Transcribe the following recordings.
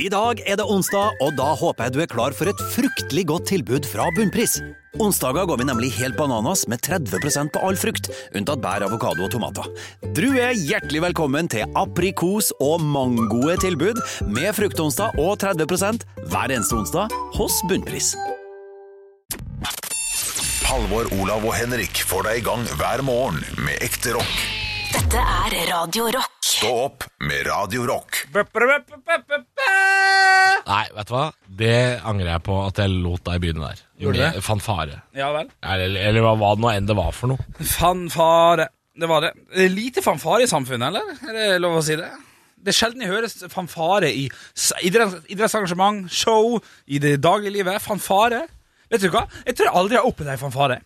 I dag er det onsdag, og da håper jeg du er klar for et fruktelig godt tilbud fra Bunnpris. Onsdager går vi nemlig helt bananas med 30 på all frukt, unntatt bær, avokado og tomater. Du er hjertelig velkommen til aprikos- og mangoe tilbud med fruktonsdag og 30 hver eneste onsdag hos Bunnpris. Halvor, Olav og Henrik får deg i gang hver morgen med ekte rock. Dette er Radio Rock. Stå opp med Radio Rock. Nei, vet du hva? Det angrer jeg på at jeg lot deg begynne der. Gjorde du det? Med Fanfare. Ja vel. Eller, eller hva- hva det nå enn det var for noe. Fanfare. Det var det. Det er Lite fanfare i samfunnet, eller? Er det lov å si det? Det er sjelden jeg hører fanfare i s- idretts- idrettsarrangement, show, i det daglige livet. Fanfare. Vet du hva? Jeg tror jeg aldri har opplevd ei fanfare.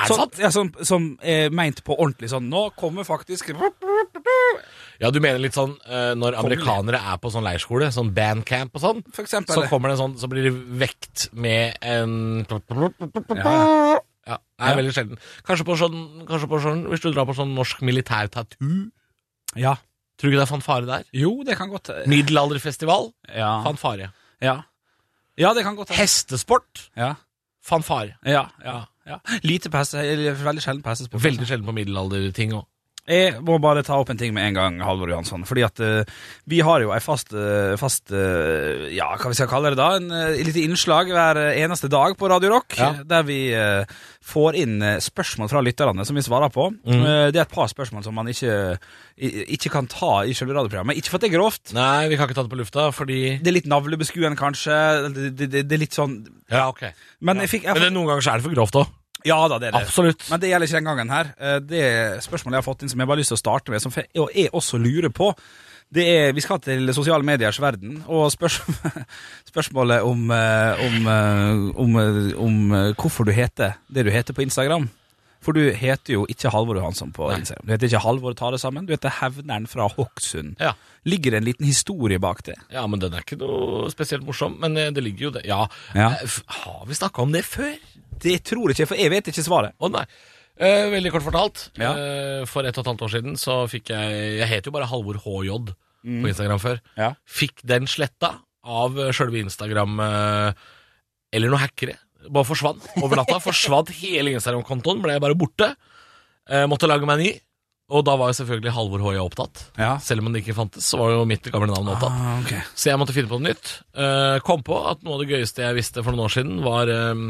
Er det Sånn- sant? Ja, som, som er meint på ordentlig sånn. Nå kommer faktisk Ja, du mener litt sånn eh, når amerikanere er på sånn leirskole, sånn bandcamp og sånn, For eksempel. så kommer det en sånn, så blir det vekt med en Ja, det er Ja. veldig sjelden. Kanskje på sånn, kanskje på sånn Hvis du drar på sånn norsk militær tattoo, Ja. tror du ikke det er fanfare der? Jo, det kan godt eh, Middelalderfestival, Ja. fanfare. Ja, ja det kan godt hende. Hestesport, Ja. fanfare. Ja, ja, ja. Lite pass, eller veldig sjelden passes på. Veldig sjelden på middelalderting òg. Jeg må bare ta opp en ting med en gang, Halvor Johansson. Fordi at eh, vi har jo ei fast, eh, fast eh, Ja, hva vi skal kalle det da? En uh, lite innslag hver eh, eneste dag på Radio Rock. Ja. Der vi eh, får inn eh, spørsmål fra lytterne som vi svarer på. Mm. Eh, det er et par spørsmål som man ikke, i- ikke kan ta i selve radioprogrammet. Ikke for at det er grovt. Nei, vi kan ikke ta det på lufta, fordi Det er litt navlebeskuende, kanskje. Det, det, det, det er litt sånn Ja, ok. Men jeg fikk jeg, Men det, noen ganger så er det for grovt òg. Ja da, det er det. Absolutt. Men det gjelder ikke den gangen her. Eh, Det spørsmålet jeg har fått inn som jeg bare har lyst til å starte med, som fe- og jeg også lurer på, det er, Vi skal til sosiale mediers verden, og spørs, spørsmålet om, eh, om, eh, om, eh, om eh, hvorfor du heter det du heter på Instagram. For du heter jo ikke Halvor Johansson på Instagram. Du heter ikke Halvor Ta det sammen, du heter Hevneren fra Hokksund. Ja. Ligger det en liten historie bak det? ja, men den er ikke noe spesielt morsom. Men eh, det ligger jo det. Ja. Ja. Eh, f- Har vi snakka om det før? Det tror jeg ikke, for jeg vet ikke svaret. Å nei. Eh, veldig kort fortalt. Ja. Eh, for ett og et halvt år siden så fikk jeg Jeg het jo bare Halvor HJ på Instagram før. Mm. Ja. Fikk den sletta av eh, sjølve Instagram eh, Eller noen hackere. Bare forsvant over natta. forsvant hele Instagram-kontoen. Ble jeg bare borte. Eh, måtte lage meg en ny. Og da var jo selvfølgelig Halvor HJ opptatt. Ja. Selv om det ikke fantes, så var jo mitt gamle navn opptatt. Ah, ok. Så jeg måtte finne på noe nytt. Eh, kom på at noe av det gøyeste jeg visste for noen år siden, var eh,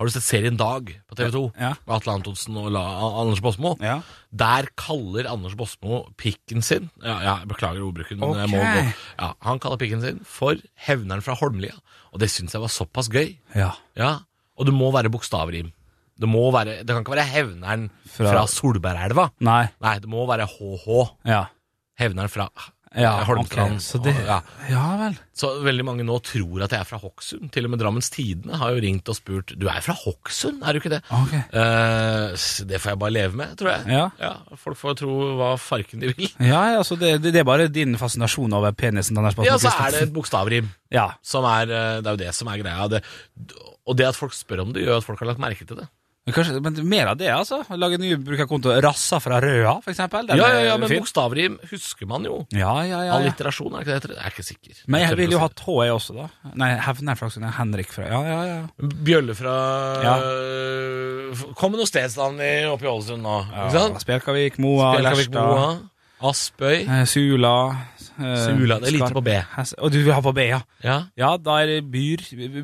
Har du sett serien Dag på TV 2? Ja. Med Atle Antonsen og La Anders Båsmo. Ja. Der kaller Anders Båsmo pikken sin ja, ja, Jeg beklager ordbruken, men jeg må Ok. gå. Ja, han kaller pikken sin for Hevneren fra Holmlia. Og det syns jeg var såpass gøy. ja. Ja, Og det må være bokstavrim. Det, må være, det kan ikke være Hevneren fra, Fra- Solbergelva. Nei. Nei, det må være HH. Ja. Hevneren fra Ja, Holmstrand. ok, så det- og- ja. Ja vel. Så veldig mange nå tror at jeg er fra Hokksund. Til og med Drammens Tidende har jo ringt og spurt Du er fra Hokksund, er du ikke det? Ok. Eh, s- det får jeg bare leve med, tror jeg. Ja. Folk får tro hva farken de vil. Ja, ja, så det, det, det er bare din fascinasjon over penisen til Anders Bassen Ja, så er det et bokstavrim. Ja, Som er, eh, det er jo det som er greia. Det, og det at folk spør om det, gjør at folk har lagt merke til det. men, kanskje, men mer av det, altså. Lage ny brukerkonto. Rassa fra Røa, for eksempel. Den Ja, ja, er ja, Men eh, fin. bokstavrim husker man jo. ja, ja, ja, ja. Alliterasjon, er ikke det det heter? Jeg er ikke sikker. Men tør jeg ville ikke jo å si hatt HE også, da. Nei, Hevner fra Aksund. Henrik fra Ja, ja, ja. det. Bjølle fra Ja. eh, Kom med noe stedsnavn i- oppe i Ålesund nå. ja ikke sant? Spjelkavik, Moa, Spjelkavik Lerstad, Moa, Aspøy eh, Sula eh, Sula, det er lite Skarp- på B. Hes- Å, du vil ha på B, ja. ja. Ja, da er det Byr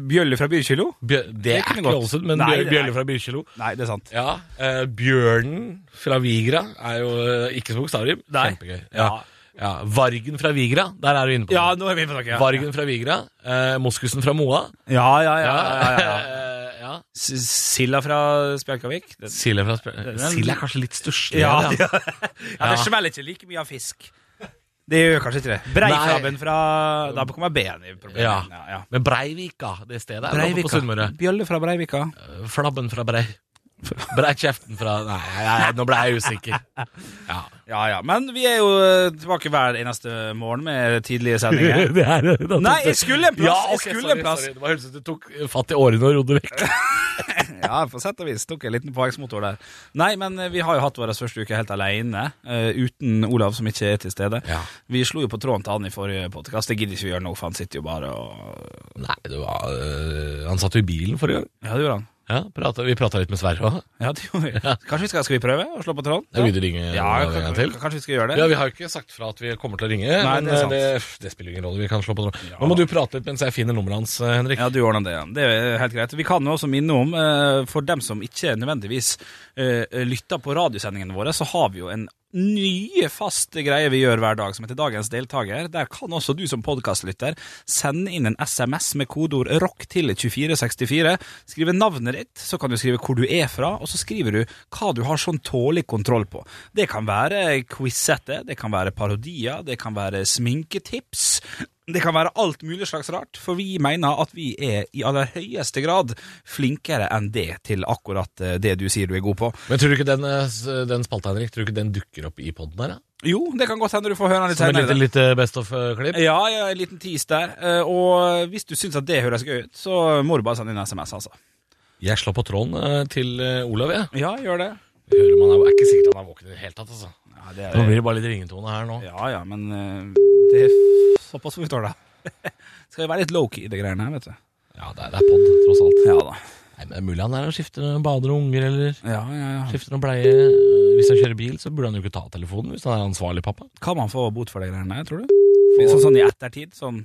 Bjølle fra Byrkilo? Bjø Det er kunne ikke gått. Ålesund, men Nei, Bjør- det- Bjørle fra Byrkjelo. Nei, det er sant. Ja, eh, Bjørnen fra Vigra er jo eh, ikke som bokstavrim. Nei. Kjempegøy. Ja. Ja. Vargen fra Vigra, der er du inne på Ja, den. nå er vi inne på noe. Ja. Vargen fra Vigra, eh, Moskusen fra Moa. Ja, ja, ja. ja, ja, ja. Eh, ja. S- Silla fra Spjelkavik? Den- Sild er fra Spjø- er- Sild er kanskje litt stusslig. Ja, ja. ja. det smeller ikke like mye av fisk. Det gjør kanskje ikke det. Breifrabben fra Da kommer B-en i problemet. Ja. Ja, ja. Men Breivika, det stedet, er oppe på Sunnmøre. Bjølle fra Breivika. Flabben fra Brei. Breikjeften fra Nei, nei, nei, nå ble jeg usikker. Ja. Ja, ja. Men vi er jo eh, tilbake hver eneste morgen med tidlige sendinger. Nei, jeg skulle en plass! Ja, ok, jeg skulle sorry, en plass. sorry. Det var Hulset du tok fatt i årene og rodde vekk. Ja, på sett og vis tok jeg en liten påhengsmotor der. Nei, men eh, vi har jo hatt vår første uke helt alene, eh, uten Olav som ikke er til stede. Ja. Vi slo jo på tråden til han i forrige podkast, det gidder ikke vi gjøre nå, for han sitter jo bare og Nei, det var øh, Han satt jo i bilen forrige gang. Ja, det gjorde han. Ja, pratet, Vi prata litt med Sverre òg. Ja, det gjorde vi. Kanskje vi skal, skal vi prøve å slå på tråden? Jeg vil ringe Ja, en gang kanskje, til. kanskje vi skal gjøre det? Ja, Vi har jo ikke sagt fra at vi kommer til å ringe, Nei, men det er sant. det, det spiller jo ingen rolle. Vi kan slå på tråden. Nå må du prate litt mens jeg finner nummeret hans, eh, Henrik. Ja, du ordner det. ja. Det er helt greit. Vi kan jo også minne om, eh, for dem som ikke nødvendigvis eh, lytter på radiosendingene våre, så har vi jo en ny fast greie vi gjør hver dag, som heter Dagens deltaker. Der kan også du som podkastlytter sende inn en SMS med kodeord 'rock' til 2464. Skrive navnet ditt, så kan du skrive hvor du er fra, og så skriver du hva du har sånn tålelig kontroll på. Det kan være quizette, det kan være parodier, det kan være sminketips. Det kan være alt mulig slags rart, for vi mener at vi er i aller høyeste grad flinkere enn det til akkurat eh, det du sier du er god på. Men tror du ikke den, eh, s- den spalta, Henrik, tror du ikke den dukker opp i poden her? da? Jo, det kan godt hende du får høre den litt Som et senere. lite, lite Best eh, of-klipp? Ja, ja, en liten tease der. Eh, Og hvis du syns at det høres gøy ut, så må du bare sende inn SMS, altså. Jeg slår på tråden eh, til eh, Olav, jeg. Ja, gjør det. Jeg Hører man er, er ikke sikkert han er våken i det hele tatt, altså. Ja, det Nå blir det bare litt ringetone her nå. ja, ja, men eh, det er f- såpass får vi tåle. Skal jo være litt low-key i de greiene her, vet du. Ja, det er, det er pod, tross alt. Ja da. Nei, men det er mulig han er og skifter eh, bader og unger, eller Ja, ja, ja. skifter noen bleie. Eh, Hvis han kjører bil, så burde han jo ikke ta telefonen hvis han er ansvarlig pappa. Kan man få bot for de greiene her, tror du? Sånn, sånn i ettertid, sånn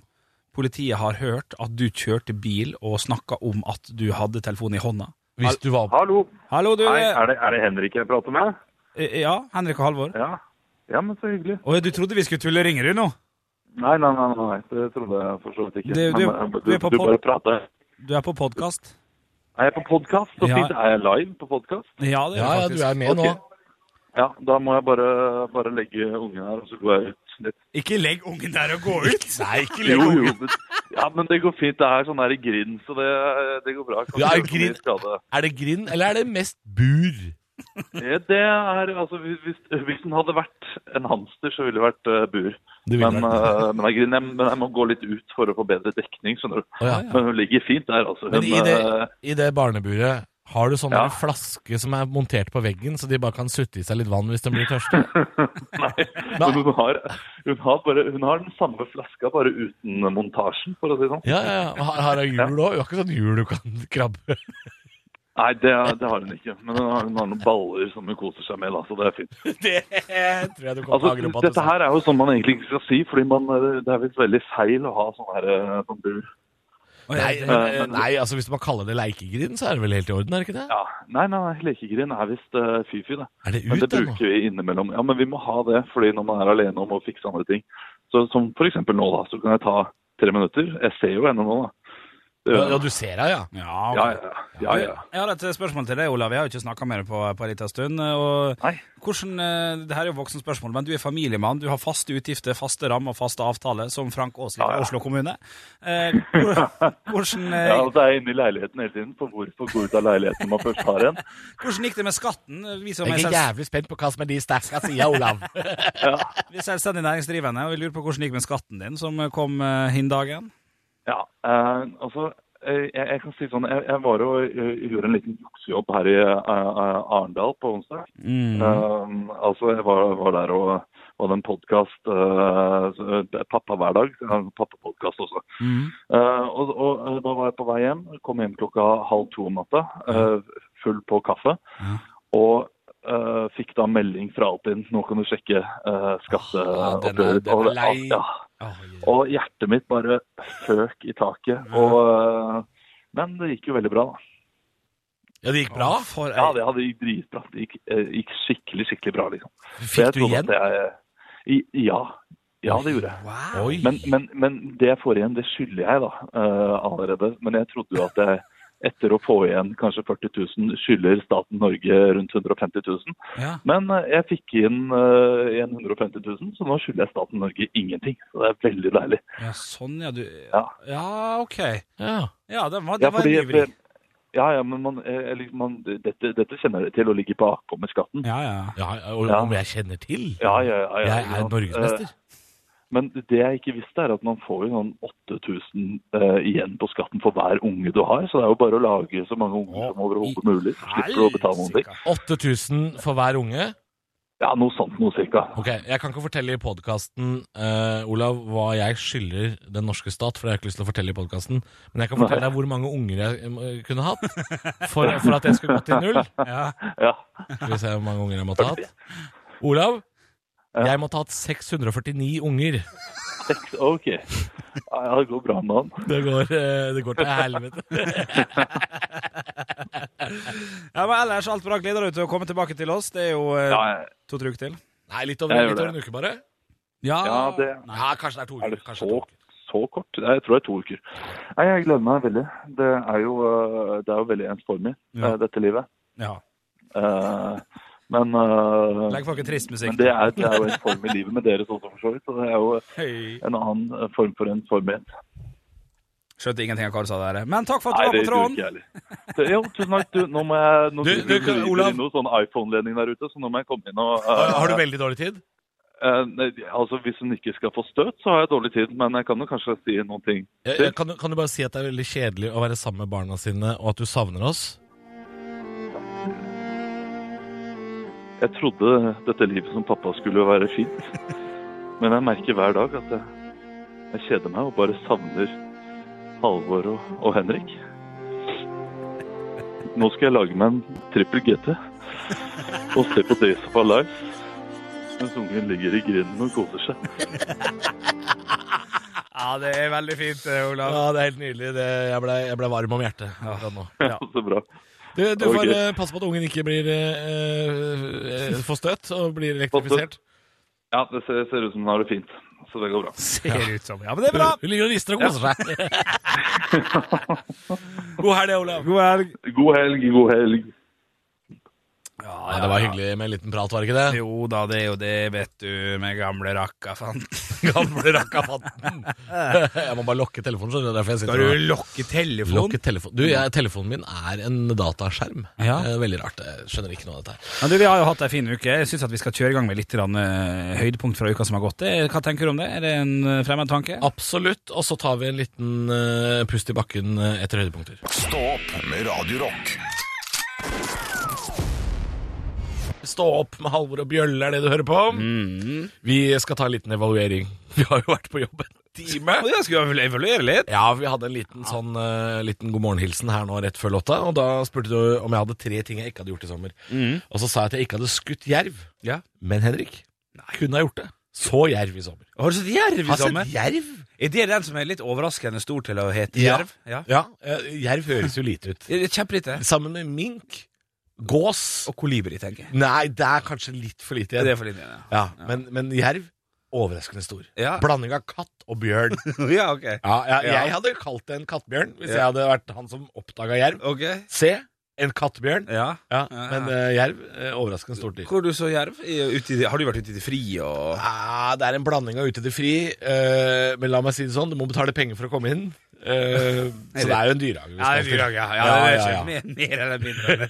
Politiet har hørt at du kjørte bil og snakka om at du hadde telefonen i hånda. Hvis du var Hallo. Hallo, du. Hei, er det, er det Henrik jeg prater med? eh, Ja, Henrik og Halvor. Ja. ja, men så hyggelig. Å, du trodde vi skulle tulle ringer du nå? Nei, nei, nei, nei, nei. det trodde jeg for så vidt ikke. Det- det- Men, eh, du er på du pod- bare prater. Du er på podkast? Er jeg på podkast? Så Ja. fint. Er jeg live på podkast? Ja, det er Ja, ja, du faktisk. er med nå. Ok. Ja, da må jeg bare, bare legge ungen her, og så går jeg ut litt. Ikke legg ungen der og gå ut! Nei, ikke Jo, jo. men- Ja, men det går fint. Det er sånn der grind, så det, det går bra. Kan Ja, ikke gjøre så grind. mye skade. Er det grind, eller er det mest bur? Eh, Det er, altså, hvis, hvis- hvis den hadde vært en hamster, så ville det vært eh, bur. Det ville Men, vært- eh, men, jeg, grind- jeg, men jeg må gå litt ut for å få bedre dekning, skjønner du. Å, ja. Men hun ligger fint der, altså. Hun, Men i det, eh, i det barneburet har du sånne Ja. flasker som er montert på veggen, så de bare kan sutte i seg litt vann hvis de blir tørste? Nei, Nei. hun har, hun, har bare, hun har den samme flaska, bare uten montasjen, for å si det sånn. Ja, ja, ja. Har, har hun hjul òg? Hun har ikke sånn hjul du kan krabbe Nei, det, det har hun ikke. Men hun har, hun har noen baller som hun koser seg med, da, så det er fint. Det tror jeg du kommer til å Altså, angre på. at du dette sa. her er jo sånn man egentlig ikke skal si, fordi man, eh, det er visst veldig feil å ha sånn her eh, sånn bur. Nei, Eh, nei, altså hvis man kaller det leikegrind, så er det vel helt i orden, er det ikke det? Ja, Nei, nei, nei lekegrind er visst eh, fy-fy, det. Er det Men ut det ennå? bruker vi innimellom. Ja, men vi må ha det, fordi når man er alene om å fikse andre ting. Så som for eksempel nå, da, så kan jeg ta tre minutter. Jeg ser jo henne nå, da. Det gjør Ja, jeg. du ser henne, ja. Ja, Ja, ok. ja, ja. ja, ja. Jeg har et spørsmål til deg, Olav. Jeg har jo ikke snakka med deg på, på en liten stund. Og Nei. hvordan, eh, det her er jo voksenspørsmål, men du er familiemann. Du har faste utgifter, faste rammer og faste avtaler, som Frank Aasli Ja, fra ja. Oslo kommune. Eh, hvor- hvordan, eh, Ja, og det er inne i leiligheten hele tiden. For hvorfor går ut av leiligheten når man først har en? hvordan gikk det med skatten? Vi som er Jeg er selv, jævlig spent på hva som er de sterke sida, Olav. vi er selvstendig næringsdrivende, og vi lurer på hvordan det gikk med skatten din, som eh, kom eh, hin dagen. Ja, eh, altså, eh, jeg, jeg kan si sånn, jeg, jeg var og eh, gjorde en liten juksejobb her i eh, eh, Arendal på onsdag. Mm. Mhm. Eh, altså, jeg var, var der og og hadde en podkast, eh, pappa hver dag, så jeg har en pappapodkast også. Mm. Eh, og, og eh, da var jeg på vei hjem, kom hjem klokka halv to om natta, eh, full på kaffe. Og eh, fikk da melding fra Altinn, nå kan du sjekke uh, Ah, den er- skatteoppgjøret. den er Og- lei. Ja, og hjertet mitt bare føk i taket. Og, eh, men det gikk jo veldig bra, da. Ja, det gikk bra. For, Ja, det hadde gikk dritbra. Det gikk, eh, gikk skikkelig, skikkelig bra, liksom. For jeg Fikk du trodde igjen? at Jeg, eh, i, ja. Ja, det gjorde jeg. Oi. Men, men, men det jeg får igjen, det skylder jeg da eh, allerede. Men jeg trodde jo at jeg etter å få igjen kanskje 40 000, skylder staten Norge rundt 150 000. Ja. Men eh, jeg fikk inn eh, igjen 150 000, så nå skylder jeg staten Norge ingenting. Så det er veldig deilig. ja, sånn, ja. Du Ja. Ja, OK. Ja. Ja, det var, Ja, det var fordi, en ivrig. ja, ja, men man, eh, eller man, dette, dette kjenner dere til, å ligge bakpå med skatten. Ja, ja. ja og, Ja. Om jeg kjenner til? Ja, ja, ja. Eh, ja, Jeg er ja. norgesmester. Men det jeg ikke visste, er at man får jo sånn 8000 eh, igjen på skatten for hver unge du har. Så det er jo bare å lage så mange unger som overhodet mulig. Så slipper du å betale noen ting. 8000 for hver unge. Ja, noe sånt noe cirka. Ok, Jeg kan ikke fortelle i podkasten Olav, hva jeg skylder den norske stat, for det har jeg ikke lyst til å fortelle i podcasten Men jeg kan fortelle deg hvor mange unger jeg eh, kunne hatt for, for at jeg skulle gått i null. Ja. Skal vi se hvor mange unger jeg måtte ha hatt. Olav, jeg måtte ha hatt 649 unger. Seks, ok. Ja, ja, det går bra med han. Det går, eh, det går til helvete. Ja, men ellers alt bra. Gleder deg til å komme tilbake til oss. Det er jo eh, Ja, jeg- to trykk til. Nei, litt over, Jeg gjør litt over en det. uke, bare. Ja, ja det Ja, kanskje det er to er uker. det kanskje det er to så, uker. så kort. Nei, Jeg tror det er to uker. Nei, jeg gleder meg veldig. Det er jo, eh, det er jo veldig ensformig, Ja. eh, dette livet. ja. Eh, Men, eh, Legg på ikke trist musikk. men det, er, det er jo ensformig livet med deres også, for så vidt. Så det er jo Hei. en annen eh, form for ensformighet. Skjønte ingenting av hva du sa der. Men takk for at du Nei, var på det gjorde tråden. ikke jeg heller. Jo, tusen takk. Du, nå må jeg nå Du- du, driver vi med Olav. noe sånn iPhone-ledning der ute, så nå må jeg komme inn og Har, eh, har du veldig dårlig tid? eh, nei, altså, Hvis hun ikke skal få støt, så har jeg dårlig tid, men jeg kan jo kanskje si noen ting. Eh, eh, Kan du, kan du bare si at det er veldig kjedelig å være sammen med barna sine, og at du savner oss? Jeg trodde dette livet som pappa skulle være fint, men jeg merker hver dag at jeg, jeg kjeder meg og bare savner Halvor og, og Henrik. Nå skal jeg lage meg en trippel GT og se på Days of Our Lives mens ungen ligger i grinden og koser seg. Ja, det er veldig fint, eh, Olav. Ja, det er helt nydelig. Det, jeg blei ble varm om hjertet akkurat nå. Ja. Så bra. Du, du Ok. får eh, passe på at ungen ikke blir eh, eh, får støt og blir elektrifisert. Ja, det ser, ser ut som hun har det fint, så det går bra. Ser ut som. Ja, men det er bra. Hun ligger og rister og koser seg. God helg, Olav. God helg. God helg, god helg. Ja, det var hyggelig med en liten prat, var det ikke det? Jo da, det er jo det, vet du, med gamle rakka, faen. Gamle rakkafanten. Jeg må bare lokke telefonen, skjønner du. det er Derfor jeg Skal sitter du lokke telefonen? Lokke telefon. Du, jeg, telefonen min er en dataskjerm. Ja. Eh, Veldig rart. Jeg skjønner ikke noe av dette her. Men du, Vi har jo hatt ei en fin uke. Jeg syns vi skal kjøre i gang med litt grann, eh, høydepunkt fra uka som har gått. Det- Hva tenker du om det? Er det en eh, fremmed tanke? Absolutt. Og så tar vi en liten eh, pust i bakken eh, etter høydepunkter. Stå opp med Radio Rock. Stå opp med Halvor og Bjølle er det du hører på. Mm. Vi skal ta en liten evaluering. Vi har jo vært på jobb en time. Ja, Jeg skulle vel evaluere litt. Ja, vi hadde en liten sånn eh, liten god morgen-hilsen her nå rett før låta, og da spurte du om jeg hadde tre ting jeg ikke hadde gjort i sommer. Og så sa jeg at jeg ikke hadde skutt jerv. Mm. Ja. Men Henrik, kunne ha gjort det. Så jerv i sommer. Har du sett jerv i Har sommer? sett jerv? Er det den som er litt overraskende stor til å hete Ja. jerv? Ja. Ja, eh, jerv høres jo lite ut. Det er Kjempelite. Sammen med mink, gås Og kolibri, tenker jeg. Nei, det er kanskje litt for lite Det igjen. er for lite. Ja, Ja, men, men jerv overraskende stor. Ja. Blanding av katt og bjørn. ja ok. Ja, jeg, Ja. jeg hadde kalt det en kattbjørn hvis Ja. jeg hadde vært han som oppdaga jerv. Ok. Se, en kattbjørn. Ja. Ja, Ja, men ja. eh, jerv eh, overraskende stort dyr. Hvor du så jerv? I- ute i det- Har du vært ute i det frie og Ja, Ah, det er en blanding av ute til fri, eh, men la meg si det sånn, du må betale penger for å komme inn. Eh, så det er jo en dyrehage. vi skal til. Mer, mer eller mindre.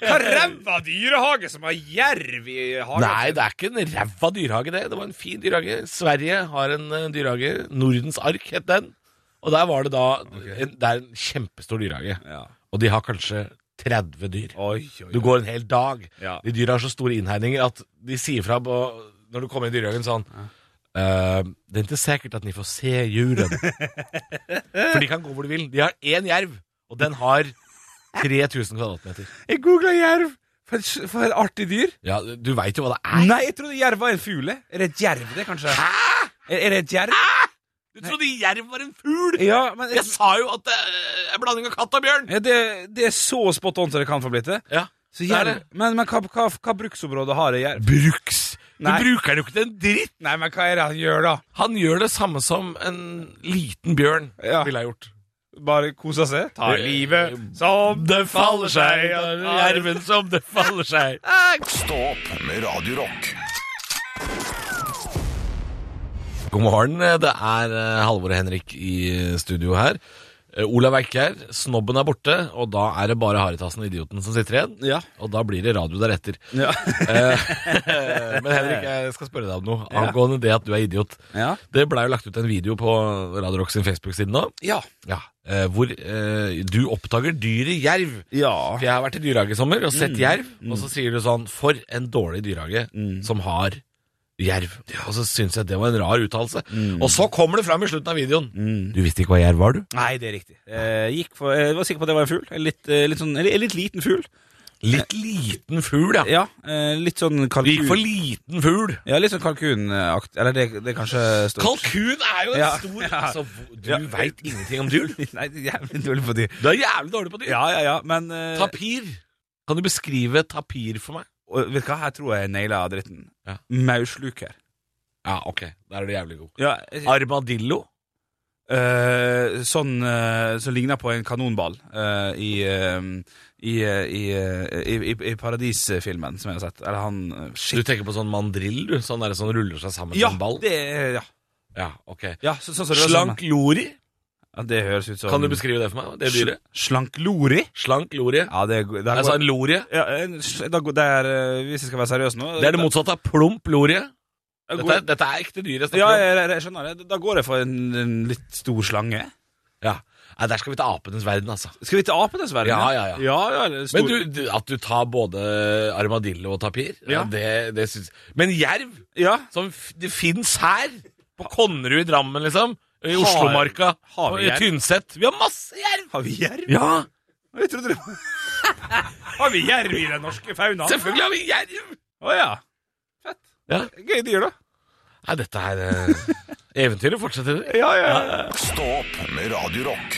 Hva ræva dyrehage som har jerv i hagen? Nei, det er ikke en ræva dyrehage, det. Det var en fin dyrehage. Sverige har en eh, dyrehage. Nordens ark het den. Og der var det da en, Det er en kjempestor dyrehage. Ja. Og de har kanskje 30 dyr. Oi, oi, oi. Du går en hel dag. Ja. De dyra har så store innhegninger at de sier fra på, når du kommer i dyrehagen sånn «Eh, Det er ikke sikkert at ni får se djuren. For de kan gå hvor de vil. De har én jerv, og den har 3000 kvadratmeter. Jeg googla jerv. For et, s- for et artig dyr. Ja, du veit jo hva det er. Nei, jeg trodde jerv var en fugl. jeg. Er det et jerv, det, kanskje? Hæ? Er, er det et jerv? Du trodde jerv var en fugl! Ja, men Jeg sa jo at det eh, er blanding av katt og bjørn! ja, det, det er så spot on som det kan få blitt det. Ja, Så det er jerv, det. men, men hva, hva, hva bruksområde har det jerv? Bruks! Du Nei. bruker den jo ikke til en dritt! Nei, men hva er det han gjør, da? Han gjør det samme som en liten bjørn Ja. ville ha gjort. Bare koser seg. Tar livet som Det faller seg, jerven som det faller seg. Stå opp med Radio Rock. God morgen. Det er eh, Halvor og Henrik i eh, studio her. Eh, Olav Eike her. Snobben er borte, og da er det bare haritassen og idioten som sitter igjen. Ja. Og da blir det radio deretter. Ja. Eh, Men Henrik, jeg skal spørre deg om noe angående det at du er idiot. Ja. Det blei jo lagt ut en video på Radio Rock sin Facebook-side nå, Ja. ja. eh, hvor eh, du oppdager dyret jerv. For jeg har vært i dyrehage i sommer og sett jerv, og så sier du sånn For en dårlig dyrehage som har jerv. Og så syns jeg det var en rar uttalelse. Og så kommer det fram i slutten av videoen. Mm. Du visste ikke hva jerv var, du? Mm. Nei, det er riktig. Eh, gikk for, jeg var sikker på at det var en fugl. En litt, eh, litt, sånn, en litt liten fugl. Litt liten fugl, ja. Ja, eh, litt sånn Du gikk for kalkun. liten fugl. Ja, litt sånn kalkunakt. Eller det, det er kanskje stort. Kalkun er jo en Ja. stor Ja. altså, hvor- Du Ja. veit ingenting om dyr. Nei, det er jævlig dårlig på de. Du er jævlig dårlig på dyr. Ja, ja, ja, men eh, Tapir. Kan du beskrive tapir for meg? og Vet du hva, her tror jeg jeg naila dritten. Ja. Maursluker. Ja, ok. Der er du jævlig god. Ja, jeg- Armadillo. Eh, sånn eh, som ligner på en kanonball eh, i, eh, i, eh, i, eh, i, i, i Paradisfilmen, som jeg har sett. Eller han eh, Du Shit. tenker på sånn mandrill, du? Sånn der som ruller seg sammen Ja, som en ball? det er ja. Ja, ok ja så, sånn som det var Slank lori? sånn- Ja, det høres ut som Kan du beskrive det for meg? Det dyret? Slank lori? Slank lori. Ja, det er go- der Altså går- en lorie. ja, en sl- da går- der, eh, Hvis jeg skal være seriøs nå Det er det motsatte av plump lorie. da- Dette, er- dette er ekte dyr jeg snakker Ja, om. jeg, jeg, jeg skjønner det. Da går jeg for en, en litt stor slange. Ja. Nei, der skal vi til apenes verden, altså. Skal vi til apenes verden? Ja, ja, ja. ja, ja eller stor... Men du, du, at du tar både armadillo og tapir, ja. Ja. det, det syns Men jerv, Ja. som f det fins her! På Konnerud i Drammen, liksom. I Oslomarka. har vi Og i jerv? Tynset. Vi har masse jerv! Har vi jerv? Ja, Jeg trodde det var Har vi jerv i den norske faunaen? selvfølgelig har vi jerv! Å ja. Fett. Ja. Gøy dyr, da. Nei, dette er eh, Eventyret fortsetter. Ja, ja. Stå opp med Radio Rock.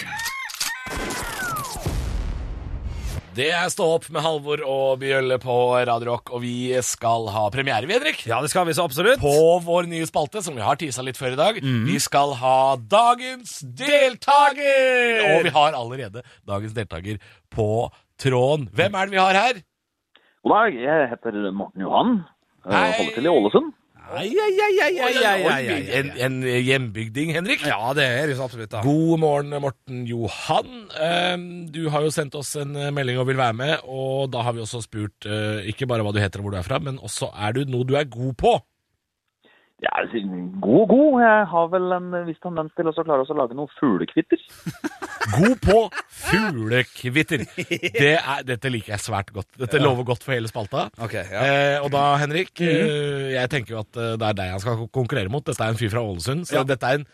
Det er Stå opp med Halvor og Bjølle på Radio Rock, og vi skal ha premiere, vi, Henrik. ja, det skal vi så absolutt. På vår nye spalte, som vi har tisa litt før i dag. Vi skal ha dagens deltaker! Og vi har allerede dagens deltaker på tråden. Hvem er det vi har her? God dag, jeg heter Morten Johan. og Hei. Holder til i Ålesund. Ai, ai, ai, ai, ai, ai, ai, ai, ai. En, en hjembygding, Henrik. Ja, det er det så absolutt, da. God morgen, Morten Johan. Ehm, Du har jo sendt oss en eh, melding og vil være med, og da har vi også spurt eh, ikke bare hva du heter og hvor du er fra, men også er du noe du er god på? Jeg er altså, god, god. Jeg har vel en viss tendens til også å klare oss å lage noen fuglekvitter. God på fuglekvitter. Det er, dette liker jeg svært godt. Dette lover godt for hele spalta. Ok, ja. Eh, og da, Henrik, eh, jeg tenker jo at eh, det er deg han skal konkurrere mot. Dette er en fyr fra Ålesund, så Ja. dette er en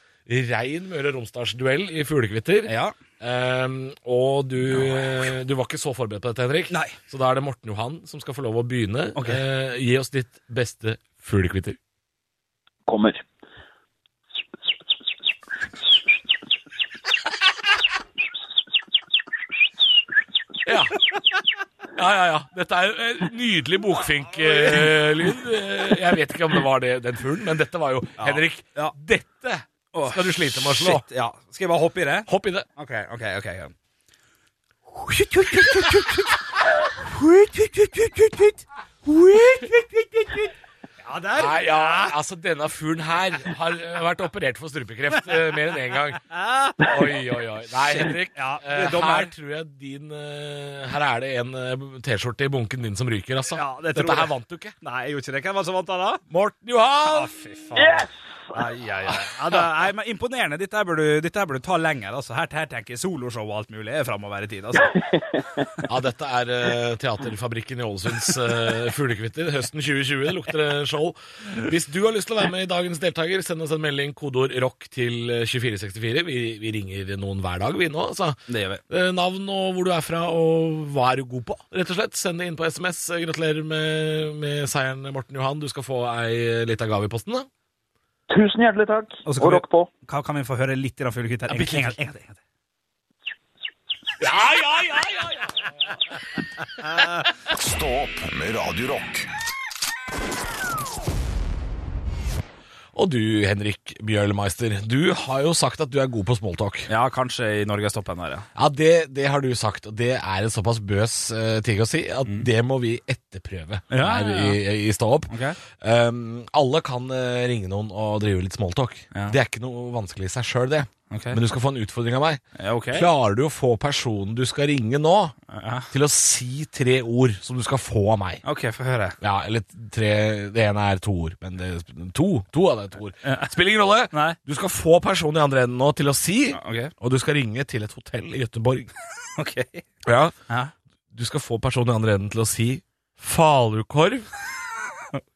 rein Møre og Romsdals-duell i fuglekvitter. ja. Ehm, og du, eh, du var ikke så forberedt på dette, Henrik. Nei. Så da er det Morten Johan som skal få lov å begynne. Ok. Eh, gi oss ditt beste fuglekvitter. Kommer. Ja. ja, ja, ja. Dette er jo en nydelig bokfink-lyd. jeg vet ikke om det var det, den fuglen, men dette var jo Henrik, Ja. dette Åh, skal du slite med å slå. Shit, ja. Skal jeg bare hoppe i det? Hopp i det. OK, OK. ok. ja. Ja, der. Nei, ja, altså Denne fuglen her har eh, vært operert for strupekreft eh, mer enn én gang. Oi, oi, oi. Nei, Henrik. Ja, eh, det er dommer. her tror jeg din eh, Her er det en eh, T-skjorte i bunken din som ryker, altså. Ja, det tror Dette her jeg. vant du ikke. Nei, jeg gjorde ikke det. Hvem var det som vant da? da? Morten Johan! Ah, Fy faen. Yes! Ai, ai, ai. Ja, da, nei, men imponerende. Dette her bør du, dette her bør du ta lenger. Altså. Her, her tenker jeg soloshow og alt mulig er framover i tid. Altså. Ja, dette er eh, Teaterfabrikken i Ålesunds uh, fuglekvitter. Høsten 2020 det lukter det show. Hvis du har lyst til å være med i dagens deltaker, send oss en melding kodeord rock til eh, 2464. Vi, vi ringer noen hver dag, vi nå. altså. Det gjør vi. Eh, Navn og hvor du er fra, og hva er du god på, rett og slett. Send det inn på SMS. Eh, Gratulerer med, med seieren, Morten Johan. Du skal få ei eh, lita gave i posten. da. Tusen hjertelig takk, Og så og, kan vi- rock på. Hva kan vi få høre litt i den fuglekvitt her? En, en, gang- en, gang til, en, gang til. Ja, ja, ja, ja, ja. Stå opp med Radio Rock. Og du, Henrik Bjørlemeister, du har jo sagt at du er god på smalltalk. Ja, kanskje i norgestoppen her, ja. Ja, det, det har du sagt, og det er en såpass bøs eh, ting å si at det må vi etterprøve Mm. Ja, her ja, i, i Stå opp. Ok. Um, alle kan eh, ringe noen og drive litt smalltalk. Ja. Det er ikke noe vanskelig i seg sjøl, det. Ok. Men du skal få en utfordring av meg. Ja, ok. Klarer du å få personen du skal ringe nå, Ja. til å si tre ord som du skal få av meg? Ok, få høre. Ja, eller tre Det ene er to ord. Men det, to, to av det er to ord. Spiller ingen rolle. Nei. Du skal få personen i andre enden nå til å si, Ok. og du skal ringe til et hotell i Gøteborg. Ok. Ja. Ja. Du skal få personen i andre enden til å si falukorv,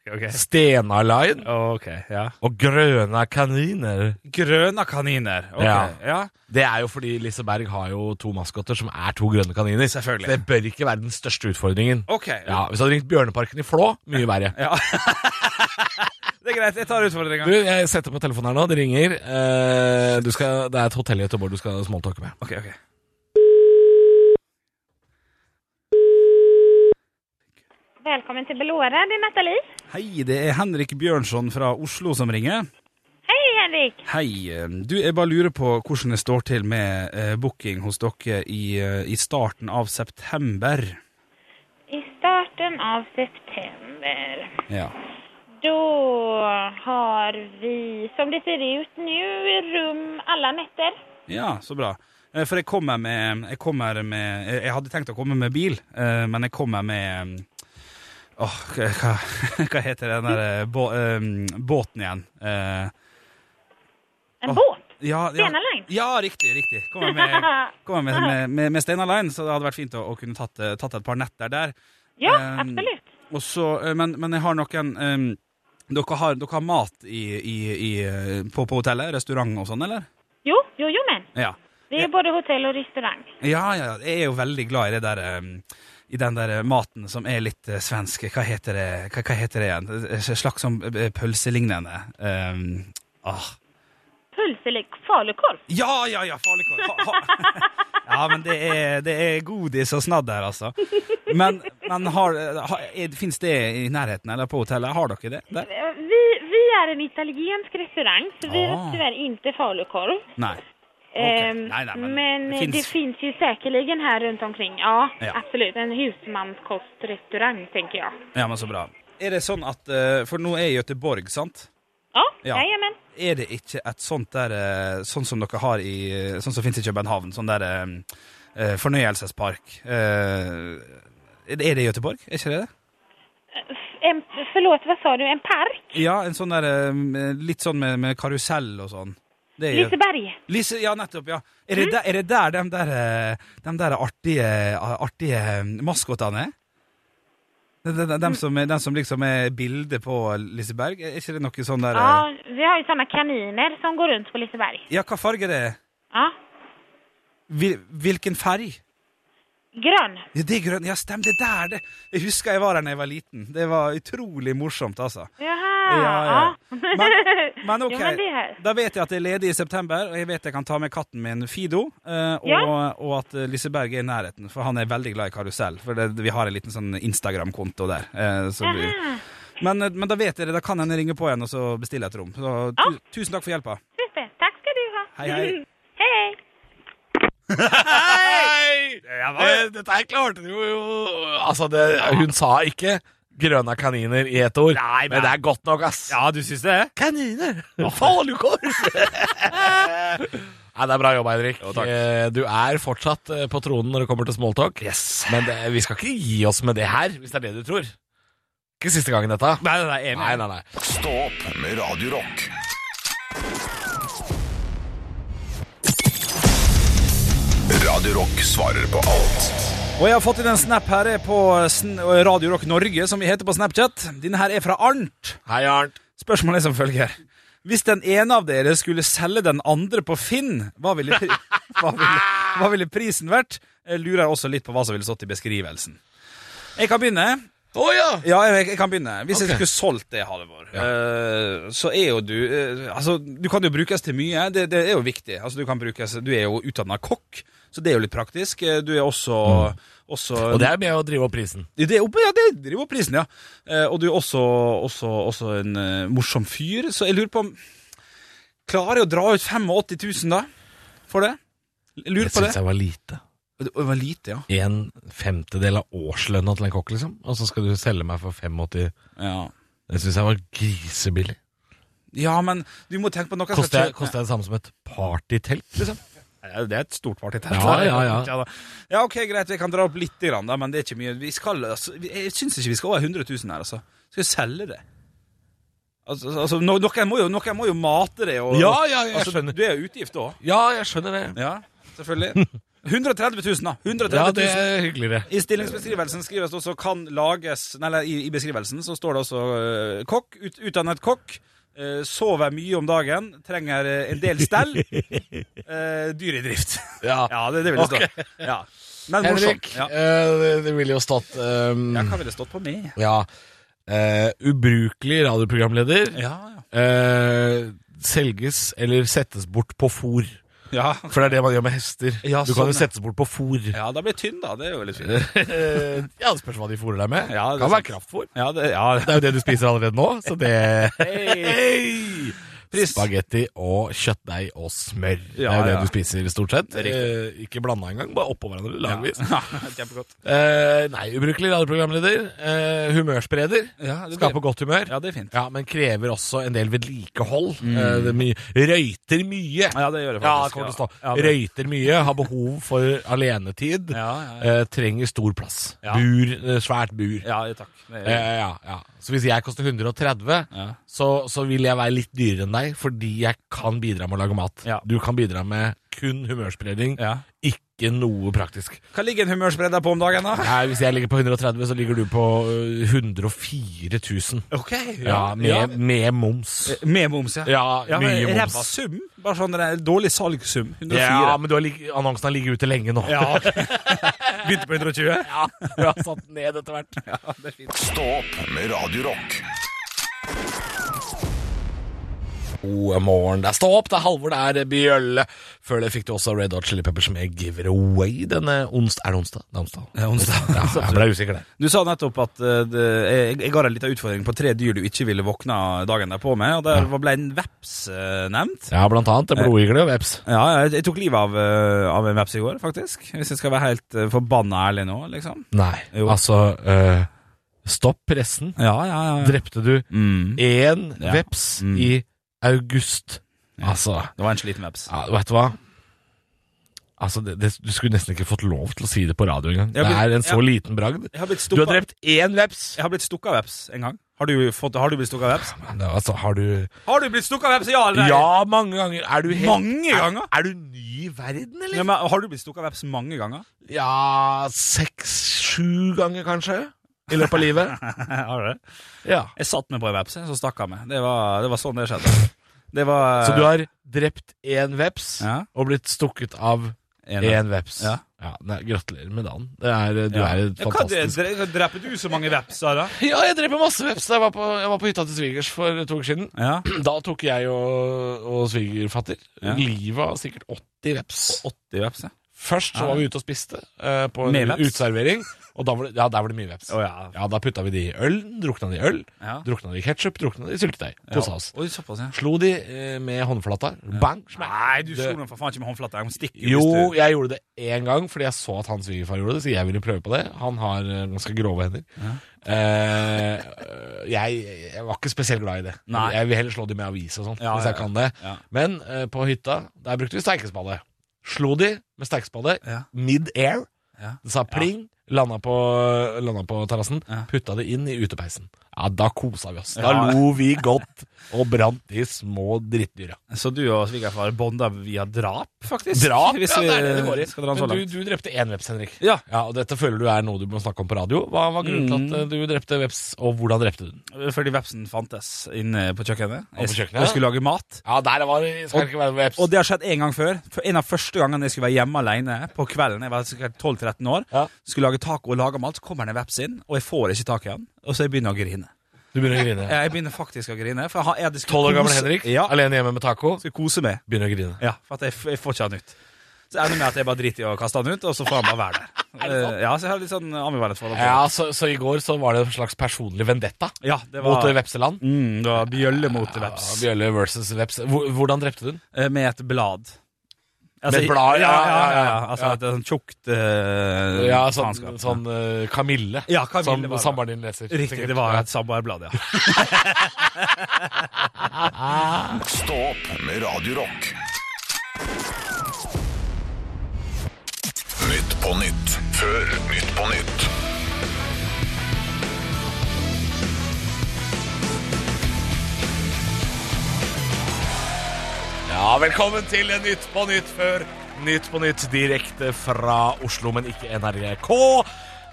Ok. Stenaline Ok, ja. og grøna kaniner. Grønne kaniner. Ok, Ja. ja. Det er jo fordi Liseberg har jo to maskotter som er to grønne kaniner. Selvfølgelig. Så det bør ikke være den største utfordringen. Ok. Ja, Hvis du hadde ringt Bjørneparken i Flå, mye verre. Ja. det er greit, jeg tar Du, utfordringen. jeg setter på telefonen her nå, det ringer. Eh, du skal, det er et hotell i Gøteborg du skal smalltalke med. Ok, ok. Velkommen til Belora, det er Nathalie. Hei, det er Henrik Bjørnson fra Oslo som ringer. Hei Henrik! Hei, eh, du, jeg bare lurer på hvordan det står til med eh, booking hos dere i, eh, i starten av september. I starten av september, Ja. då har vi, som det ser ut nu, rum alla nätter. Ja, så bra. Eh, For jeg kommer med Jeg, kommer med, jeg hadde tenkt å komme med bil, eh, men jeg kommer med eh, Åh, hva- hva, hva heter den der eh, bå, eh, båten igjen? Eh, En Åh. båt! ja, ja, Stena Line. Ja, eh, riktig. riktig. Kommer med, kommer med, med, med, med Stena Line, så det hadde vært fint å, å kunne tatt, eh, tatt et par netter der. Ja, Ehm, absolut. Og så, eh, men, men jeg har noen eh, dere, har, dere har mat i, i, i, eh, på, på hotellet? Restaurant og sånn, eller? Jo, jo, jo men. Ja. Det er både hotell och restaurang. Ja, ja, jeg er jo veldig glad i det der um, I den der maten som er litt eh, svensk Hva heter det, hva, hva heter det igjen? Eh, Slags som eh, pølselignende um, ah. Pulselik falukorv. Ja, ja, ja, farligkål ha, ha. Ja, men det er, det er godis og snadd her, altså Men, men har, har, er, finnes det i nærheten eller på hotellet? Har dere det? Der? Eh, Vi, vi är en italiensk restaurang, så vi Ah. har tyvärr inte falukorv. Nei Ehm, Nej, nej, men men det det, finns- finns... ju säkerligen här runt omkring. Ja, Ja. absolut. En husmanskostrestaurang, tänker jag. Ja, men så bra Er det sånn at, eh, for nå er Göteborg, sant? Ja, Ja. jajamän. Er det ikke et sånt der eh, Sånn som dere har i eh, Sånn som finnes i København, sånn der eh, eh, fornøyelsespark eh, Er det i Göteborg? Er ikke det det? En, förlåt, vad sa du? En park? Ja, en sånn der eh, Litt sånn med, med karusell og sånn. Det er jo Liseberg? Lise, ja, nettopp, ja. Er det, der, er det der de der, eh, de der artige, artige eh, maskotene er? De, de, de, dem som, er- dem som liksom er bildet på Liseberg? Er ikke det noe sånn der eh, Ja, vi har ju sådana kaniner som går runt på Liseberg. Ja, hva farge det er? Ja. Hvil, hvilken farg? Grön. Ja, det er grønn. Ja, stem, det der, det. Jeg husker jeg var der da jeg var liten. Det var utrolig morsomt, altså. Jaha. Men, men ok, Jo, men det er- da vet jeg at det er ledig i september, og jeg vet jeg kan ta med katten min Fido, eh, og, Ja. og at eh, Liseberg er i nærheten, for han er veldig glad i karusell, for det, vi har en liten sånn Instagram-konto der. eh, så vi, Jaha. men, eh, men da vet jeg det, da kan han ringe på igjen og så bestille et rom. Så tu, tusen takk for hjelpa. Super. Tack ska du ha. Hei, hei. hej, hej. Hei! Eh, Dette her klarte du jo Altså, det, hun sa ikke 'grønne kaniner' i ett ord, men, det er godt nok, ass. du syns det? Kaniner! Falukorv! Nei, det er bra jobba, Henrik. Eh, Du er fortsatt eh, på tronen når det kommer til smalltalk. Men det, vi skal ikke gi oss med det her, hvis det er det du tror. Ikke siste gangen dette. Nei, nei, nei, enig. Nei, nei, nei. Stå opp med Radio Rock. Radio Rock svarer på alt Og jeg har fått inn en snap her på sn- Radio Rock Norge, som vi heter på Snapchat. Denne her er fra Arnt. Hei, Arnt. Spørsmålet er som følger. Hvis den ene av dere skulle selge den andre på Finn, hva ville, pri hva ville, hva ville prisen vært? Jeg lurer også litt på hva som ville stått i beskrivelsen. Jeg kan begynne. Å ja! Ja, jeg, jeg kan begynne. Hvis Ok. jeg skulle solgt det, Halvor, eh, så er jo du eh, Altså, du kan jo brukes til mye. Det, det er jo viktig. Altså, du, kan brukes, du er jo utdanna kokk, så det er jo litt praktisk. Eh, Du er også, også Mm. Og det er med å drive opp prisen. det er oppe, ja, det driver opp prisen, ja. Eh, og du er også, også, også en eh, morsom fyr, så jeg lurer på om Klarer jeg å dra ut 85 000, da? For det? Jeg lurer Det på det. syns jeg var lite. Det var lite, ja. En femtedel av årslønna til en kokk, liksom. Og så skal du selge meg for 85 Ja, Det syns jeg var grisebillig. ja men du må tenke på noe jeg skal Koster jeg, kjøpe. koster jeg det samme som et partytelt, liksom? Ja, Det er et stort partytelt. Ja, ja, ja. da. ja, ok, greit, vi kan dra opp litt, grann, da, men det er ikke mye. Vi skal, altså, vi- jeg syns ikke vi skal over 100 000 her, altså. Skal vi selge det? Altså, altså no, noen, må jo, noen må jo mate det. Og, Ja, ja, jeg altså, skjønner. Du er jo utgift òg. Ja, jeg skjønner det. Ja, selvfølgelig. 130 000, da. 130 000. Ja, det er hyggeligere. I stillingsbeskrivelsen skrives det også 'kan lages' Nei, eller i, i beskrivelsen så står det også eh, 'kokk'. Ut, utdannet kokk. eh, sover mye om dagen. Trenger eh, en del stell. Uh, dyr i drift. Ja. Ja, det, det vil det stå. Ja. Men morsomt. Henrik, Ja. eh, det, det ville jo stått ehm, ja, hva ville det stått på meg? Ja. Eh, ubrukelig radioprogramleder. Ja, Eh, selges eller settes bort på fôr. ja. Ja, For det er det man gjør med hester. Ja, du sånn, kan jo ja. settes bort på fôr. ja Ja, da blir jeg tynn, da. Det er jo litt Eh. fint. ja det spørs hva de fôrer deg med. Ja, det er kan sant. være kraftfôr. Ja, det, ja. Det er jo det du spiser allerede nå, så det Hei! Pris. Spagetti og kjøttdeig og smør. det Ja, er jo det ja. du spiser stort sett. er riktig. Eh, ikke blanda engang, bare oppå hverandre lagvis. Ja, Kjempegodt. Eh, nei, ubrukelig radioprogramleder. Eh, humørspreder. Ja, det Skaper godt humør. Ja, det er fint. Mm. Ja, men krever også en del vedlikehold. Eh, det er mye- Røyter mye. Ja, det gjør det Ja, faktisk. kommer til å Ja, stå. det- Røyter mye, har behov for alenetid. Ja, ja, ja. Eh, trenger stor plass. Ja. Bur, eh, svært bur. Ja, takk. Det Eh, er- ja, ja. Så hvis jeg koster 130, Ja. så, så vil jeg være litt dyrere enn deg, fordi jeg kan bidra med å lage mat. Ja. Du kan bidra med kun humørspredning, Ja. ikke noe praktisk. Hva ligger en humørspreder på om dagen, da? Nei, hvis jeg ligger på 130, så ligger du på eh, 104 000. Ok, Ja, med, med moms. Med moms, ja. Ja, Eh, Ja, men mye Ræva moms. sum. Bare sånn det er en dårlig salgssum. 104. Ja, men du har ligg- annonsen har ligget ute lenge nå. Ja, ok. Begynte på 120? Ja, du har satt den ned etter hvert. Stå opp med Radio Rock. God morgen. Det er Stå opp, det er Halvor, det er Bjølle. Før det fikk du også Red Hot Chili Peppers med Give It Away denne onsdag. Er det onsdag? Det er onsdag. Ja, onsdag. Ja, jeg ble usikker der. Du sa nettopp at eh, det, jeg, jeg ga deg litt av utfordring på tre dyr du ikke ville våkne dagen derpå med, og der var- ble en veps eh, nevnt. Ja, blant annet det er blodigle og veps. Ja, jeg, jeg tok livet av, eh, av en veps i går, faktisk. Hvis jeg skal være helt eh, forbanna ærlig nå, liksom. Nei, Jo. altså eh, Stopp pressen. Ja, ja, ja. Drepte du Mm. én Ja. veps Mm. i august? Altså Det var en sliten veps. Ja, vet du hva? Altså, det, det, Du skulle nesten ikke fått lov til å si det på radio engang. Ja, Det men- er en så ja. liten bragd. Jeg har blitt Du har stukket drept én veps! jeg har blitt stukket av veps en gang. Har du, fått, har du blitt stukket av veps? Men, altså, har du Har du blitt stukket av veps? Ja eller nei? Ja, mange ganger. Er du helt Mange ganger? Er, er du ny i verden, Ja, eller? men har du blitt stukket av veps mange ganger? Ja, seks-sju ganger, kanskje. I løpet av livet. har du det? Ja. Jeg satt meg på en veps, jeg, så stakk han meg. Det var, det var sånn det skjedde. Det var Så du har drept én veps Ja. og blitt stukket av eh, en, én veps. Ja. nei, gratulerer med dagen. Det er, du Ja. er et Ja, hva fantastisk dre- dre- Dreper du så mange vepser, da? Ja, jeg dreper masse veps. da Jeg var på, jeg var på hytta til svigers for to uker siden. Ja. Da tok jeg og, og svigerfatter Ja. livet av sikkert 80 veps. 80 veps, ja. Først så Ja. var vi ute og spiste eh, på Med en veps? uteservering, og da var det, ja, der var det mye veps. Å, ja. Ja, Da putta vi de i øl, drukna de i øl, Ja. drukna de i ketsjup, drukna de i syltetøy. Ja. Posesaus. Oi, såpass, ja. Slo de eh, med håndflata. Bang! Smekk. Nei, du Det- slo den for faen ikke med håndflata. Hun stikker Jo, hvis du jeg gjorde det én gang fordi jeg så at hans svigerfar gjorde det, så jeg ville prøve på det. Han har eh, ganske grove hender. Eh, jeg, jeg var ikke spesielt glad i det. Nei. Jeg vil heller slå de med avis og sånn, Ja, hvis jeg ja, kan det. ja. Men eh, på hytta, der brukte vi steikespade. Slo de med steikespade Ja. mid air. Ja. Det sa pling. Landa på, landa på terrassen, Ja. putta det inn i utepeisen. Ja, Da kosa vi oss. Da Ja. lo vi godt og brant de små drittdyra. Så du og svigerfar bonda via drap, faktisk? Drap, Hvis ja, vi det er det det går i. Skal dra den så Men du, langt. du drepte én veps, Henrik. Ja. og Dette føler du er noe du må snakke om på radio. Hva var grunnen til at eh, du drepte veps, og hvordan drepte du den? Fordi vepsen fantes inne på kjøkkenet. på kjøkkenet, Jeg, jeg skulle lage mat. Ja, der var det skal Og- ikke være veps. Og det har skjedd en gang før. For en av første gangene jeg skulle være hjemme alene på kvelden, jeg var sikkert 12-13 år, Ja. skulle lage lager taco og lager mat, så kommer det en veps inn, og jeg får ikke tak i han, og så jeg begynner å grine. Du begynner å grine. Jeg begynner faktisk å grine. For jeg har, jeg hadde skulle Tolv år gammel kose- Henrik, Ja, alene hjemme med taco. skal kose meg. Begynner å grine. Ja, for at jeg, f- jeg får ikke han ut. Så ender det med at jeg bare driter i å kaste han ut, og så får han bare være der. Eh, Ja, så jeg har litt sånn ambivalent forhold til det. Ja, så, så i går så var det en slags personlig vendetta Ja, det mot var, eh, Vepseland. mm, det var bjølle mot veps. Ja, Bjølle versus Veps. Hvor- Hvordan drepte du den? Eh, Med et blad. Altså, Med et blad, Ja, ja, ja, ja. ja. ja. Altså et sånn tjukt eh, Ja, sånn, faenskap. sånn eh, Kamille, Ja, Camille som var det. samboeren din leser. Riktig, det var et samboerblad, ja. Stå opp med Radio Rock. Nytt på nytt før Nytt på nytt. Ja, velkommen til Nytt på Nytt før Nytt på Nytt direkte fra Oslo, men ikke NRK.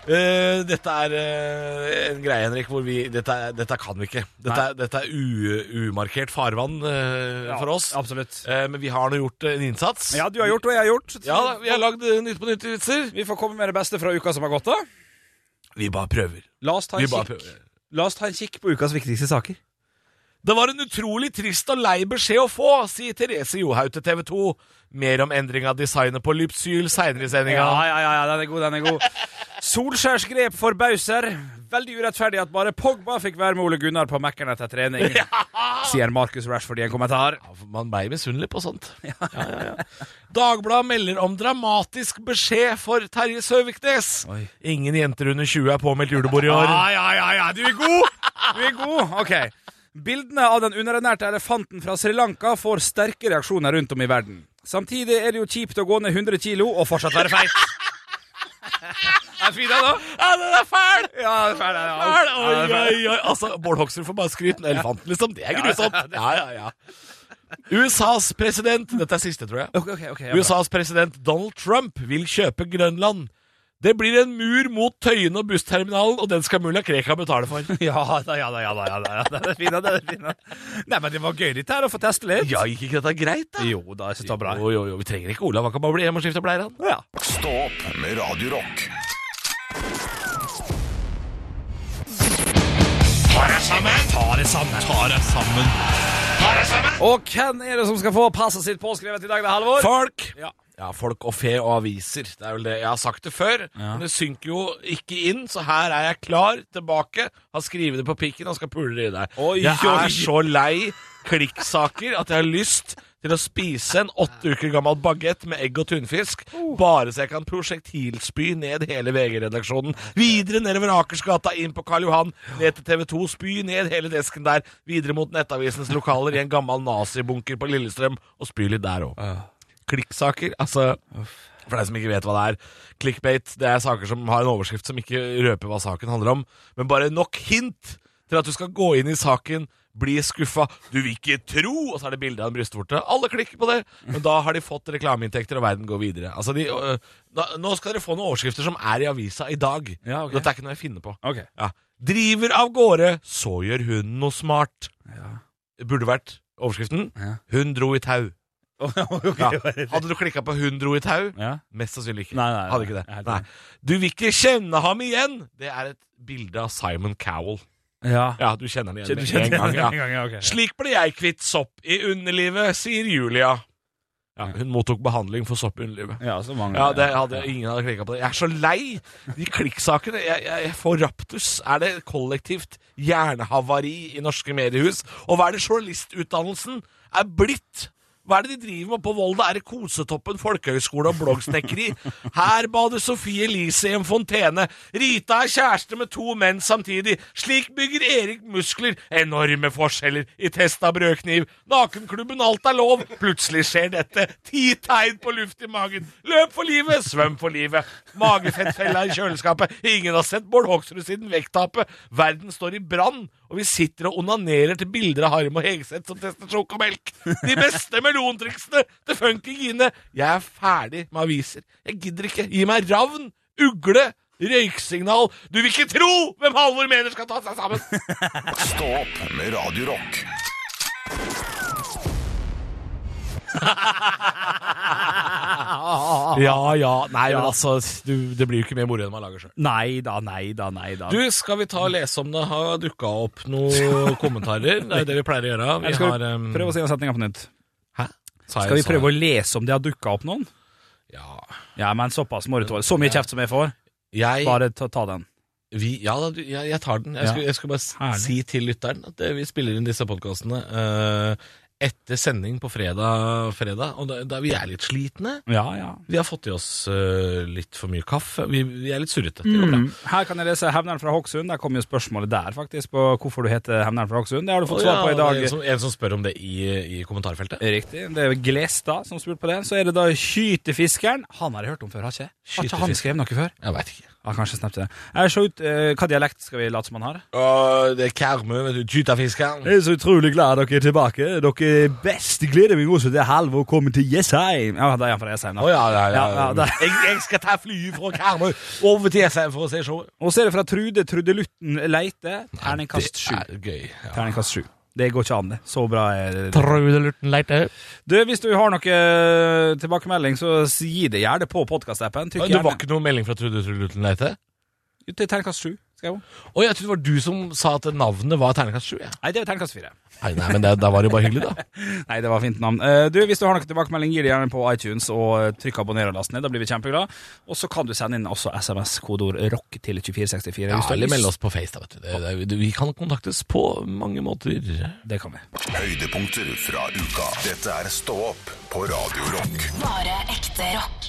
Eh, dette er eh, en greie, Henrik, hvor vi Dette, er- dette kan vi ikke. Dette, er- dette er u, umarkert farvann eh, for oss. Absolutt. Eh, men vi har nå gjort eh, en innsats. Ja, du har gjort og jeg har gjort. Ja da, vi har lagd eh, Nytt på Nytt-vitser. Vi får komme med det beste fra uka som har gått, da. Vi bare prøver. La oss ta Vi en, bare kikk. prøver. La oss ta en kikk på ukas viktigste saker. Det var en utrolig trist og lei beskjed å få, sier Therese Johaug til TV 2. Mer om endring av designet på Lypsyl seinere i sendinga. Ja, ja, ja, ja, den er god, den er god. Solskjærs grep forbauser. Veldig urettferdig at bare Pogba fikk være med Ole Gunnar på Mækkern etter trening, sier Marcus Rashford i en kommentar. Ja, for Man ble misunnelig på sånt. Ja, ja, ja. Dagbladet melder om dramatisk beskjed for Terje Søviknes. Oi. Ingen jenter under 20 er påmeldt julebord i år. Ja, ja, ja, ja, du er god! Du er god, ok. Bildene av den underernærte elefanten fra Sri Lanka får sterke reaksjoner rundt om i verden. Samtidig er det jo kjipt å gå ned 100 kilo og fortsatt være feit. Er det fint da? Ja, den er fæl! Ja, det er feit, ja, ja. Fæl! Oi, oi, oi. Altså, Bård Hoksrud får bare skryte av elefanten, liksom. Det er grusomt. Ja, ja, ja. USAs president Dette er siste, tror jeg. Ok, ok, ok. ja, bra. USAs president Donald Trump vil kjøpe Grønland. Det blir en mur mot Tøyen og bussterminalen, og den skal mulla Krekar betale for. Ja da, ja da, ja da. ja da, ja da. Det er fint, det er fint. Nei, men det var gøy litt her å få teste litt. Ja, gikk ikke dette greit, da? Jo da, jeg synes det var bra. Jo, jo, jo, vi trenger ikke Olav. Han kan bare bli hjemme og skifte bleier, han. Ja. Stå opp med Radio Rock. Og hvem er det som skal få passet sitt påskrevet i dag, da, Halvor? Folk! Ja. Ja, folk og fe og aviser. Det er vel det. Jeg har sagt det før, men det synker jo ikke inn, så her er jeg klar, tilbake, har skrevet det på pikken og skal pule det i deg. Oi, jeg oi. er så lei klikksaker at jeg har lyst til å spise en åtte uker gammel bagett med egg og tunfisk, Oh. bare så jeg kan prosjektilspy ned hele VG-redaksjonen. Videre nedover Akersgata, inn på Karl Johan, ned til TV 2, spy ned hele desken der, videre mot Nettavisens lokaler i en gammel nazibunker på Lillestrøm, og spy litt der òg klikksaker. Altså, for deg som ikke vet hva det er. Clickbait det er saker som har en overskrift som ikke røper hva saken handler om, men bare nok hint til at du skal gå inn i saken, bli skuffa, du vil ikke tro, og så er det bilde av en brystvorte. Alle klikker på det, men da har de fått reklameinntekter, og verden går videre. Altså, de, øh, da, nå skal dere få noen overskrifter som er i avisa i dag. Ja, ok. Dette er ikke noe jeg finner på. Ok. Ja. Driver av gårde, så gjør hunden noe smart. Burde vært overskriften. Ja. Hun dro i tau. Ja. okay. Hadde du klikka på 'hun dro i tau'? Ja. Mest sannsynlig ikke. Nei, nei, nei. Hadde ikke det. Jeg er helt Nei. enig. Du vil ikke kjenne ham igjen! Det er et bilde av Simon Cowell. Ja. Ja, du kjenner han igjen Kjenner- med en gang. Ja. en gang, ja, ok. Slik ble jeg kvitt sopp i underlivet, sier Julia. Ja, hun mottok behandling for sopp i underlivet. Ja, så mange. Ja, det hadde, Ingen hadde klikka på det. Jeg er så lei de klikksakene. Jeg, jeg, jeg får raptus. Er det kollektivt hjernehavari i norske mediehus? Og hva er det journalistutdannelsen er blitt? Hva er det de driver med på Volda? Er det Kosetoppen folkehøgskole og bloggsnekkeri? Her bader Sofie Elise i en fontene. Rita er kjæreste med to menn samtidig. Slik bygger Erik muskler. Enorme forskjeller i test av brødkniv. Nakenklubben Alt er lov. Plutselig skjer dette. Ti tegn på luft i magen. Løp for livet, svøm for livet. Magefettfella i kjøleskapet. Ingen har sett Bård Hoksrud siden vekttapet. Verden står i brann, og vi sitter og onanerer til bilder av Harm og Hegseth som tester sjokomelk. De beste melontriksene til funky Gine. Jeg er ferdig med aviser. Jeg gidder ikke. Gi meg ravn, ugle, røyksignal. Du vil ikke tro hvem Halvor mener skal ta seg sammen. Stå opp med Radio Rock. Ja, ja. Nei, men altså, du, det blir jo ikke mer moro enn man lager sjøl. Nei da, nei da, nei da. Du, skal vi ta og lese om det har dukka opp noen kommentarer? Det er jo det vi pleier å gjøre. Eller Vi skal har, vi um, prøve å si den setninga på nytt? Hæ? Sa jeg- Skal vi sa prøve å jeg- lese om det har dukka opp noen? Ja. Ja, men såpass må du tåle. Så mye kjeft som jeg får, Jeg, bare ta, ta den. vi, ja, da, du- jeg, jeg tar den. Jeg Ja. skulle, jeg skulle bare s- Herlig. si til lytteren at eh, vi spiller inn disse podkastene etter sending på fredag, fredag og da, da vi er litt slitne. Ja, ja. Vi har fått i oss eh, litt for mye kaffe. Vi, vi er litt surrete. Det går bra. Mm. Her kan jeg lese Hevneren fra Hokksund. Der kom jo spørsmålet der, faktisk, på hvorfor du heter Hevneren fra Hokksund. Det har du fått Å, svar ja, på i dag. Eh. det er En som, en som spør om det i, i kommentarfeltet. Riktig. Det er Glestad som spurte på det. Så er det da Skytefiskeren. Han har jeg hørt om før, har ikke jeg? Har ikke han Skytefisk- skrevet noe før? Jeg veit ikke. Ja, kanskje snapt det. Jeg ser ut, eh, hva dialekt skal vi late som han har? det er Karmøy, vet du. Tytafiskeren. Jeg er så utrolig glad dere er tilbake. Dere er best. Jeg gleder meg også til halv å komme til Jessheim. Ja, det er han fra Jessheim, da. ja, ja, ja. Ja, ja, det- jeg, jeg skal ta flyet fra Karmøy over til SM for å se showet. Og så er det fra Trude Trudelutten Leite. Terningkast sju. Det er gøy. Ja. Terningkast sju. Det går ikke an, det. Så bra er det. Trudelurten leite. Du, hvis du har noe eh, tilbakemelding, så gi det gjerne på podkastappen. Trykk Det gjerne. var ikke noen melding fra Trude Trudelurten leite? Det er terningkast sju. Skal jeg også. Å, jeg trodde det var du som sa at navnet var terningkast sju. Ja. Nei, det er terningkast fire. Nei, nei, men det- da var det jo bare hyggelig, da. Nei, det var fint navn. Eh, Du, Hvis du har noen tilbakemelding, gi det gjerne på iTunes og eh, trykk abonner og last ned. Da blir vi kjempeglade. Og så kan du sende inn også SMS-kodeord ROCK til 2464. Ja, hvis du har eller lyst. meld oss på Face, da, vet du. Det, det, vi kan kontaktes på mange måter. Det kan vi. Høydepunkter fra uka. Dette er Stå opp på Radio Rock. Bare ekte rock.